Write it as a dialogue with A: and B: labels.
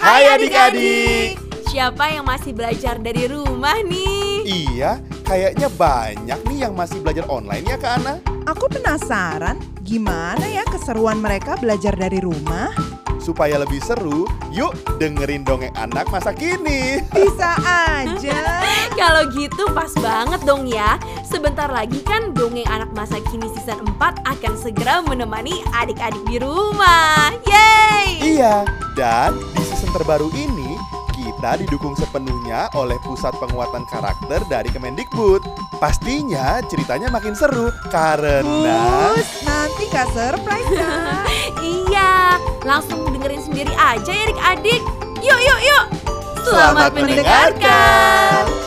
A: Hai adik-adik.
B: Siapa yang masih belajar dari rumah nih?
A: Iya, kayaknya banyak nih yang masih belajar online ya Kak Ana.
C: Aku penasaran gimana ya keseruan mereka belajar dari rumah
A: Supaya lebih seru, yuk dengerin dongeng anak masa kini.
C: Bisa aja
B: Kalau gitu pas banget dong ya. Sebentar lagi kan dongeng anak masa kini season 4 akan segera menemani adik-adik di rumah. Yeay!
A: Iya, dan di season terbaru ini kita didukung sepenuhnya oleh Pusat Penguatan Karakter dari Kemendikbud. Pastinya ceritanya makin seru karena
C: Bus, nanti Kak Surprise kan? Kak.
B: Iya, langsung dengerin sendiri aja ya adik-adik. Yuk, yuk, yuk.
A: Selamat mendengarkan.